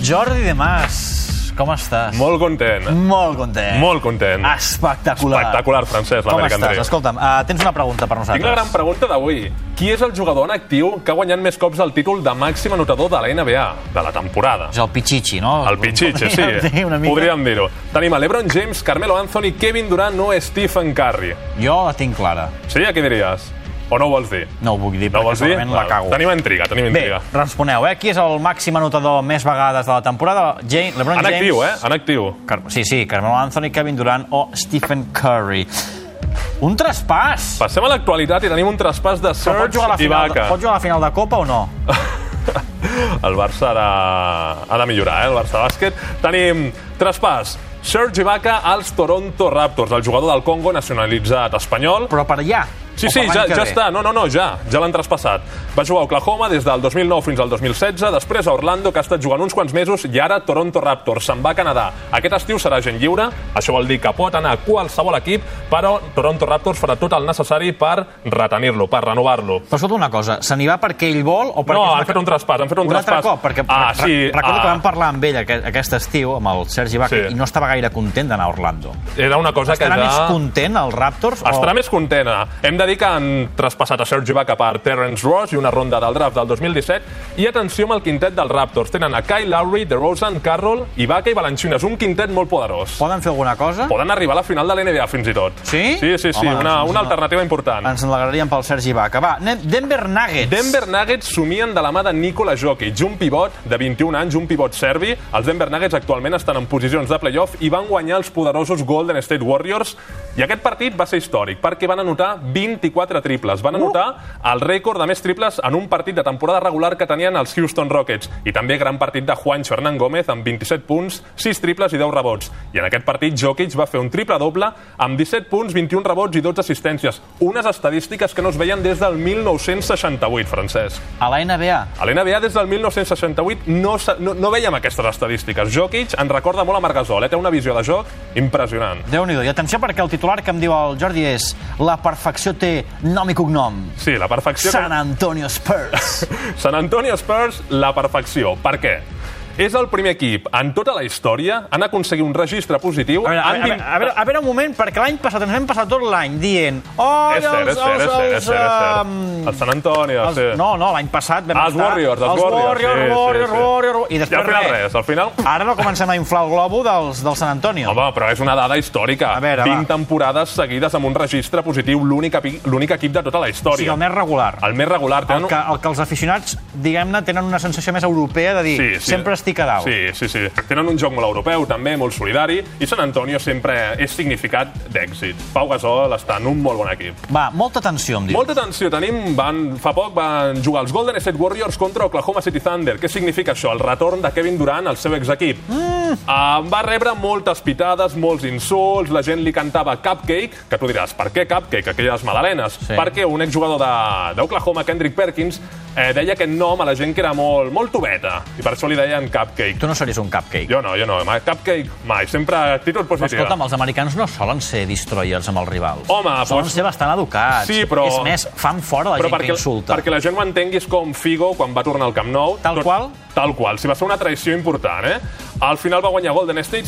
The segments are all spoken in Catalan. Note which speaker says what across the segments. Speaker 1: Jordi de Mas, com estàs?
Speaker 2: Molt content.
Speaker 1: Molt content.
Speaker 2: Molt content.
Speaker 1: Espectacular.
Speaker 2: Espectacular,
Speaker 1: Ah,
Speaker 2: Francesc,
Speaker 1: Com
Speaker 2: l'American
Speaker 1: estàs?
Speaker 2: Dream.
Speaker 1: Escolta'm, uh, tens una pregunta per nosaltres.
Speaker 2: Tinc la gran pregunta d'avui. Qui és el jugador en actiu que ha guanyat més cops el títol de màxim anotador de la NBA de la temporada?
Speaker 1: És el Pichichi, no?
Speaker 2: El Pichiche, sí.
Speaker 1: Podríem dir una mica.
Speaker 2: Podríem dir-ho. Tenim a LeBron James, Carmelo Anthony, Kevin Durant o Stephen Curry.
Speaker 1: Jo la tinc clara.
Speaker 2: Sí, a què diries? O no ho vols dir?
Speaker 1: No ho vull dir,
Speaker 2: No ho
Speaker 1: perquè
Speaker 2: vols dir?
Speaker 1: segurament la
Speaker 2: Val.
Speaker 1: cago.
Speaker 2: Tenim intriga, tenim
Speaker 1: Bé,
Speaker 2: intriga.
Speaker 1: responeu, eh? Qui és el màxim anotador més vegades de la temporada? Jane, LeBron
Speaker 2: En
Speaker 1: James...
Speaker 2: actiu, eh? En actiu.
Speaker 1: Car sí, sí, Carmelo Anthony, Kevin Durant o Stephen Curry. Un traspàs!
Speaker 2: Passem a l'actualitat i tenim un traspàs de
Speaker 1: Però pot
Speaker 2: Serge
Speaker 1: jugar, a la
Speaker 2: i
Speaker 1: final,
Speaker 2: Vaca.
Speaker 1: pot jugar a la final de Copa o no?
Speaker 2: El Barça ha de, ha de millorar, eh, el Barça Bàsquet. Tenim traspàs. Serge Ibaka als Toronto Raptors, el jugador del Congo nacionalitzat espanyol.
Speaker 1: Però per allà.
Speaker 2: Sí,
Speaker 1: o
Speaker 2: sí,
Speaker 1: per l'any
Speaker 2: ja,
Speaker 1: que
Speaker 2: ja
Speaker 1: ve?
Speaker 2: està. No, no, no, ja. Ja l'han traspassat. Va jugar a Oklahoma des del 2009 fins al 2016, després a Orlando, que ha estat jugant uns quants mesos, i ara Toronto Raptors. Se'n va a Canadà. Aquest estiu serà gent lliure. Això vol dir que pot anar a qualsevol equip, però Toronto Raptors farà tot el necessari per retenir-lo, per renovar-lo.
Speaker 1: Però escolta una cosa, se n'hi va perquè ell vol o perquè...
Speaker 2: No,
Speaker 1: és una-
Speaker 2: han fet un traspàs, han fet un,
Speaker 1: un altre
Speaker 2: traspàs.
Speaker 1: cop, perquè
Speaker 2: ah,
Speaker 1: re-
Speaker 2: sí,
Speaker 1: recordo
Speaker 2: ah,
Speaker 1: que vam parlar amb ell aquest, aquest estiu, amb el Sergi Baca,
Speaker 2: Sí.
Speaker 1: i no estava gaire content d'anar a Orlando.
Speaker 2: Era una cosa
Speaker 1: Estarà
Speaker 2: que ja...
Speaker 1: més content el Raptors?
Speaker 2: Estarà
Speaker 1: o...
Speaker 2: més contenta. Hem de dir que han traspassat a Serge Ibaka per Terrence Ross i una ronda del draft del 2017 i atenció amb el quintet dels Raptors. Tenen a Kyle Lowry, DeRozan, Carroll, Ibaka i Valanciunas. Un quintet molt poderós.
Speaker 1: Poden fer alguna cosa?
Speaker 2: Poden arribar a la final de l'NBA, fins i tot.
Speaker 1: Sí?
Speaker 2: Sí, sí, sí.
Speaker 1: Home,
Speaker 2: una,
Speaker 1: doncs,
Speaker 2: una
Speaker 1: no.
Speaker 2: alternativa important.
Speaker 1: Ens alegraríem pel Sergi Baca. Va, anem Denver Nuggets.
Speaker 2: Denver Nuggets somien de la mà de Nikola Jokic, un pivot de 21 anys, un pivot serbi. Els Denver Nuggets actualment estan en posicions de playoff i van guanyar els poderosos Golden State Warriors. I aquest partit va ser històric perquè van anotar 24 triples. Van anotar el rècord de més triples en un partit de temporada regular que tenien els Houston Rockets. I també gran partit de Juancho Hernán Gómez amb 27 punts, 6 triples i 10 rebots. I en aquest partit Jokic va fer un triple doble amb 17 punts, 21 rebots i 12 assistències. Unes estadístiques que no es veien des del 1968, Francesc.
Speaker 1: A la NBA.
Speaker 2: A l'NBA des del 1968 no, se- no, no veiem aquestes estadístiques. Jokic en recorda molt a Marc Gasol, eh? té una visió de joc impressionant.
Speaker 1: déu nhi I atenció perquè el titular que em diu el Jordi és La perfecció té nom i cognom.
Speaker 2: Sí, la perfecció... que-
Speaker 1: San Antonio Spurs.
Speaker 2: San Antonio Spurs, la perfecció. Per què? És el primer equip en tota la història en aconseguir un registre positiu...
Speaker 1: A veure, a
Speaker 2: en
Speaker 1: veure,
Speaker 2: vint-
Speaker 1: a veure, a veure un moment, perquè l'any passat ens hem passat tot l'any dient... Oh,
Speaker 2: És cert, és cert, és cert, és cert, és
Speaker 1: ehm,
Speaker 2: cert. El San Antonio,
Speaker 1: els,
Speaker 2: sí.
Speaker 1: No, no, l'any passat vam
Speaker 2: Ah, els
Speaker 1: estar-
Speaker 2: Warriors, els
Speaker 1: Warriors,
Speaker 2: Warriors, sí, sí,
Speaker 1: Warriors,
Speaker 2: sí.
Speaker 1: Warriors, i
Speaker 2: I al
Speaker 1: després
Speaker 2: final res, al final...
Speaker 1: Ara no comencem a inflar el globo dels, del San Antonio.
Speaker 2: Home, però és una dada històrica.
Speaker 1: A veure,
Speaker 2: 20
Speaker 1: va.
Speaker 2: temporades seguides amb un registre positiu, l'únic epi- l'únic equip de tota
Speaker 1: o
Speaker 2: la
Speaker 1: sigui,
Speaker 2: història.
Speaker 1: el més regular.
Speaker 2: El més regular.
Speaker 1: El que, el que els aficionats, diguem-ne, tenen una sensació més europea de dir
Speaker 2: Sí, sí.
Speaker 1: sempre estic a dalt.
Speaker 2: Sí, sí, sí. Tenen un joc molt europeu, també, molt solidari, i Sant Antonio sempre és significat d'èxit. Pau Gasol està en un molt bon equip.
Speaker 1: Va, molta atenció, em diu.
Speaker 2: Molta tensió tenim. Van, fa poc van jugar els Golden State Warriors contra Oklahoma City Thunder. Què significa això? El retorn de Kevin Durant al seu exequip. Mm. Uh, va rebre moltes pitades, molts insults, la gent li cantava Cupcake, que tu diràs, per què Cupcake, aquelles magdalenes?
Speaker 1: Sí.
Speaker 2: Sí. Perquè un exjugador de- d'Oklahoma, Kendrick Perkins, eh, deia aquest nom a la gent que era molt, molt tubeta, i per això li deien Cupcake.
Speaker 1: Tu no series un cupcake.
Speaker 2: Jo no, jo no. Mai, cupcake, mai. Sempre actitud
Speaker 1: Però
Speaker 2: positiva.
Speaker 1: escolta'm, els americans no solen ser destroyers amb els rivals.
Speaker 2: Home,
Speaker 1: solen
Speaker 2: doncs-
Speaker 1: ser bastant educats.
Speaker 2: Sí, però-
Speaker 1: És més, fan fora la
Speaker 2: però
Speaker 1: gent
Speaker 2: perquè,
Speaker 1: que insulta.
Speaker 2: perquè la gent ho entengui és com Figo quan va tornar al Camp Nou.
Speaker 1: Tal qual?
Speaker 2: Tal qual. Si va ser una traïció important, eh? Al final va guanyar Golden State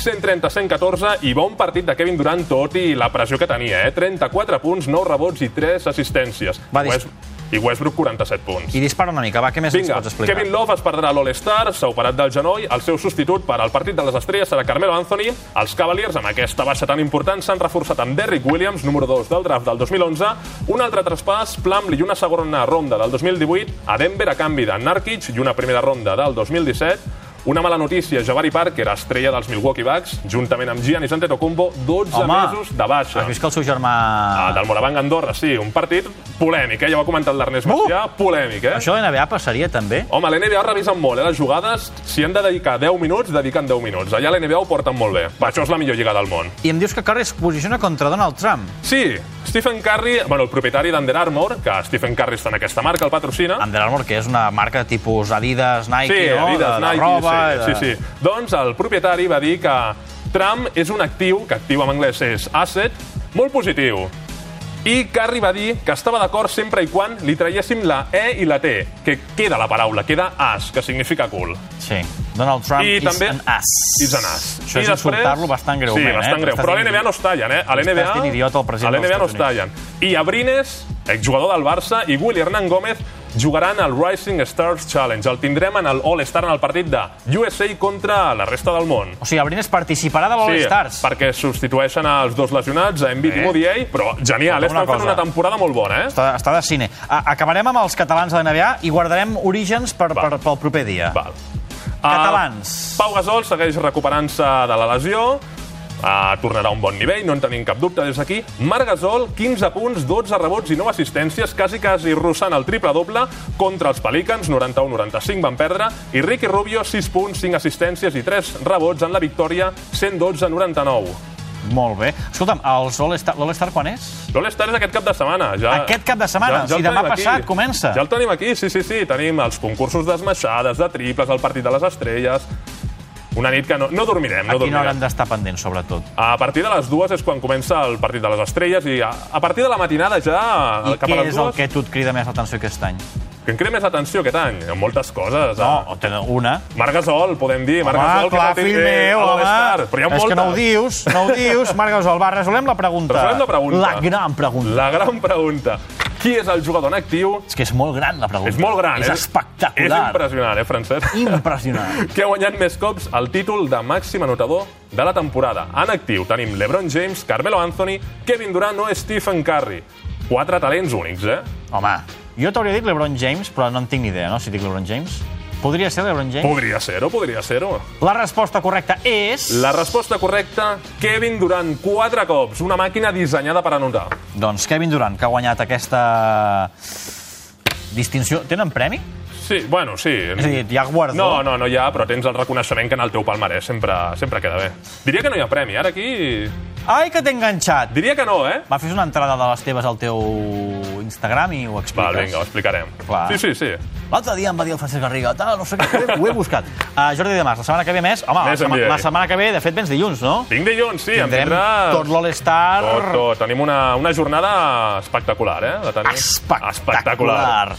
Speaker 2: 130-114 i bon partit de Kevin Durant, tot i la pressió que tenia, eh? 34 punts, 9 rebots i 3 assistències.
Speaker 1: Va,
Speaker 2: I
Speaker 1: dis-
Speaker 2: West- I Westbrook 47 punts.
Speaker 1: I dispara una mica, va, què més
Speaker 2: Vinga,
Speaker 1: ens pots explicar?
Speaker 2: Kevin Love es perdrà a l'All-Star, s'ha operat del genoll, el seu substitut per al partit de les estrelles serà Carmelo Anthony. Els Cavaliers, amb aquesta baixa tan important, s'han reforçat amb Derrick Williams, número 2 del draft del 2011, un altre traspàs, Plumlee i una segona ronda del 2018, a Denver a canvi de Narkic i una primera ronda del 2017, una mala notícia, Jabari Parker, estrella dels Milwaukee Bucks, juntament amb Giannis Antetokounmpo, 12
Speaker 1: Home,
Speaker 2: mesos de baixa.
Speaker 1: Has vist que el seu germà...
Speaker 2: Ah, del Morabanc Andorra, sí, un partit polèmic, eh? ja ho ha comentat l'Ernest
Speaker 1: Uh!
Speaker 2: Macià, polèmic, eh?
Speaker 1: Això a l'NBA passaria, també?
Speaker 2: Home, l'NBA revisen molt, eh, les jugades. Si han de dedicar 10 minuts, dediquen 10 minuts. Allà l'NBA ho porten molt bé. Va, això és la millor lliga del món.
Speaker 1: I em dius que Curry es posiciona contra Donald Trump.
Speaker 2: Sí, Stephen Curry, bueno, el propietari d'Under Armour, que Stephen Curry està en aquesta marca, el patrocina.
Speaker 1: Under Armour, que és una marca tipus Adidas, Nike,
Speaker 2: sí,
Speaker 1: no?
Speaker 2: Adidas,
Speaker 1: de, de
Speaker 2: Nike,
Speaker 1: roba,
Speaker 2: sí,
Speaker 1: de...
Speaker 2: sí, sí. Doncs el propietari va dir que Trump és un actiu, que actiu en anglès és asset, molt positiu. I Curry va dir que estava d'acord sempre i quan li traiéssim la E i la T, que queda la paraula, queda as, que significa cul.
Speaker 1: Sí. Donald Trump
Speaker 2: I
Speaker 1: is
Speaker 2: també-
Speaker 1: an ass.
Speaker 2: Is an as.
Speaker 1: Això és insultar-lo bastant greument,
Speaker 2: Sí, bastant
Speaker 1: eh?
Speaker 2: greu.
Speaker 1: Estàs
Speaker 2: Però a
Speaker 1: dient
Speaker 2: l'NBA no es
Speaker 1: idiota.
Speaker 2: tallen, eh? A l'NBA...
Speaker 1: Estàs dient idiota al president
Speaker 2: A l'NBA no
Speaker 1: dels
Speaker 2: es
Speaker 1: Estats
Speaker 2: tallen. I Abrines, exjugador del Barça, i Willy Hernán Gómez jugaran al Rising Stars Challenge. El tindrem en el All-Star en el partit de USA contra la resta del món.
Speaker 1: O sigui, Abrines participarà de l'All Stars.
Speaker 2: perquè substitueixen els dos lesionats, a Embiid
Speaker 1: Bé.
Speaker 2: i Moody, però genial, eh?
Speaker 1: Escolta, Eh?
Speaker 2: estan
Speaker 1: una
Speaker 2: fent
Speaker 1: cosa.
Speaker 2: una temporada molt bona, eh?
Speaker 1: Està, està de cine. A, acabarem amb els catalans de NBA i guardarem orígens per,
Speaker 2: Va.
Speaker 1: per, pel proper dia.
Speaker 2: Val.
Speaker 1: Catalans.
Speaker 2: Ah, Pau Gasol segueix recuperant-se de la lesió. Uh, tornarà a un bon nivell, no en tenim cap dubte des d'aquí. Marc Gasol, 15 punts, 12 rebots i 9 assistències, quasi quasi russant el triple-doble contra els Pelicans, 91-95 van perdre, i Ricky Rubio, 6 punts, 5 assistències i 3 rebots en la victòria, 112-99.
Speaker 1: Molt bé. Escolta'm, els All Star, l'All Star quan és?
Speaker 2: L'All-Star és aquest cap de setmana. Ah, Ja,
Speaker 1: Aquest cap de setmana?
Speaker 2: el
Speaker 1: Si demà
Speaker 2: tenim aquí.
Speaker 1: passat comença.
Speaker 2: Ja el tenim aquí, sí, sí, sí. Tenim els concursos d'esmaixades, de triples, el partit de les estrelles... Una nit que no, no dormirem, no
Speaker 1: a quina hora
Speaker 2: dormirem.
Speaker 1: hem d'estar pendents, sobretot?
Speaker 2: A partir de les dues és quan comença el partit de les estrelles i a, a partir de la matinada ja,
Speaker 1: I
Speaker 2: cap
Speaker 1: què
Speaker 2: a les
Speaker 1: és el
Speaker 2: dues,
Speaker 1: que a tu et crida més l'atenció aquest any?
Speaker 2: que em crida més atenció aquest any, en moltes coses.
Speaker 1: No, o tenen una.
Speaker 2: eh? Marc Gasol, podem dir. Marc
Speaker 1: Home,
Speaker 2: Gasol,
Speaker 1: clar,
Speaker 2: que Eh,
Speaker 1: fill meu, home.
Speaker 2: Star, però hi ha
Speaker 1: és
Speaker 2: moltes.
Speaker 1: que no ho dius, no ho dius. Marc Gasol, va, resolem la pregunta.
Speaker 2: Resolem la pregunta.
Speaker 1: La gran pregunta.
Speaker 2: La gran pregunta. Qui és el jugador en actiu?
Speaker 1: És que és molt gran, la pregunta.
Speaker 2: És molt gran,
Speaker 1: És
Speaker 2: eh? És
Speaker 1: espectacular.
Speaker 2: impressionant, eh, Francesc?
Speaker 1: Impressionant.
Speaker 2: que ha guanyat més cops el títol de màxim anotador de la temporada. En actiu tenim LeBron James, Carmelo Anthony, Kevin Durant o Stephen Curry. Quatre talents únics, eh?
Speaker 1: Home, jo t'hauria dit LeBron James, però no en tinc ni idea, no?, si dic LeBron James. Podria ser LeBron James?
Speaker 2: Podria ser-ho, podria ser-ho.
Speaker 1: La resposta correcta és...
Speaker 2: La resposta correcta, Kevin Durant, quatre cops. Una màquina dissenyada per anotar.
Speaker 1: Doncs Kevin Durant, que ha guanyat aquesta distinció. Tenen premi?
Speaker 2: Sí, bueno, sí.
Speaker 1: És a dir, hi ha guardó?
Speaker 2: No, no, no hi ha, però tens el reconeixement que en el teu palmarès sempre, sempre queda bé. Diria que no hi ha premi, ara aquí...
Speaker 1: Ai, que t'he enganxat!
Speaker 2: Diria que no, eh?
Speaker 1: Va, fes una entrada de les teves al teu Instagram i ho expliques.
Speaker 2: Val, vinga, ho explicarem.
Speaker 1: Clar.
Speaker 2: Sí, sí, sí.
Speaker 1: L'altre dia em va dir el Francesc Garriga, tal, no sé què, ho he- ho he buscat. Uh, Jordi Demàs, la setmana que ve més... Home, la,
Speaker 2: Més
Speaker 1: sema,
Speaker 2: NBA.
Speaker 1: la setmana que ve, de fet, vens dilluns, no?
Speaker 2: Vinc dilluns, sí, em
Speaker 1: Tindrem
Speaker 2: tindrà...
Speaker 1: tot l'All-Star...
Speaker 2: Tot, tot. Tenim una, una jornada espectacular, eh? De tenir.
Speaker 1: Espectacular.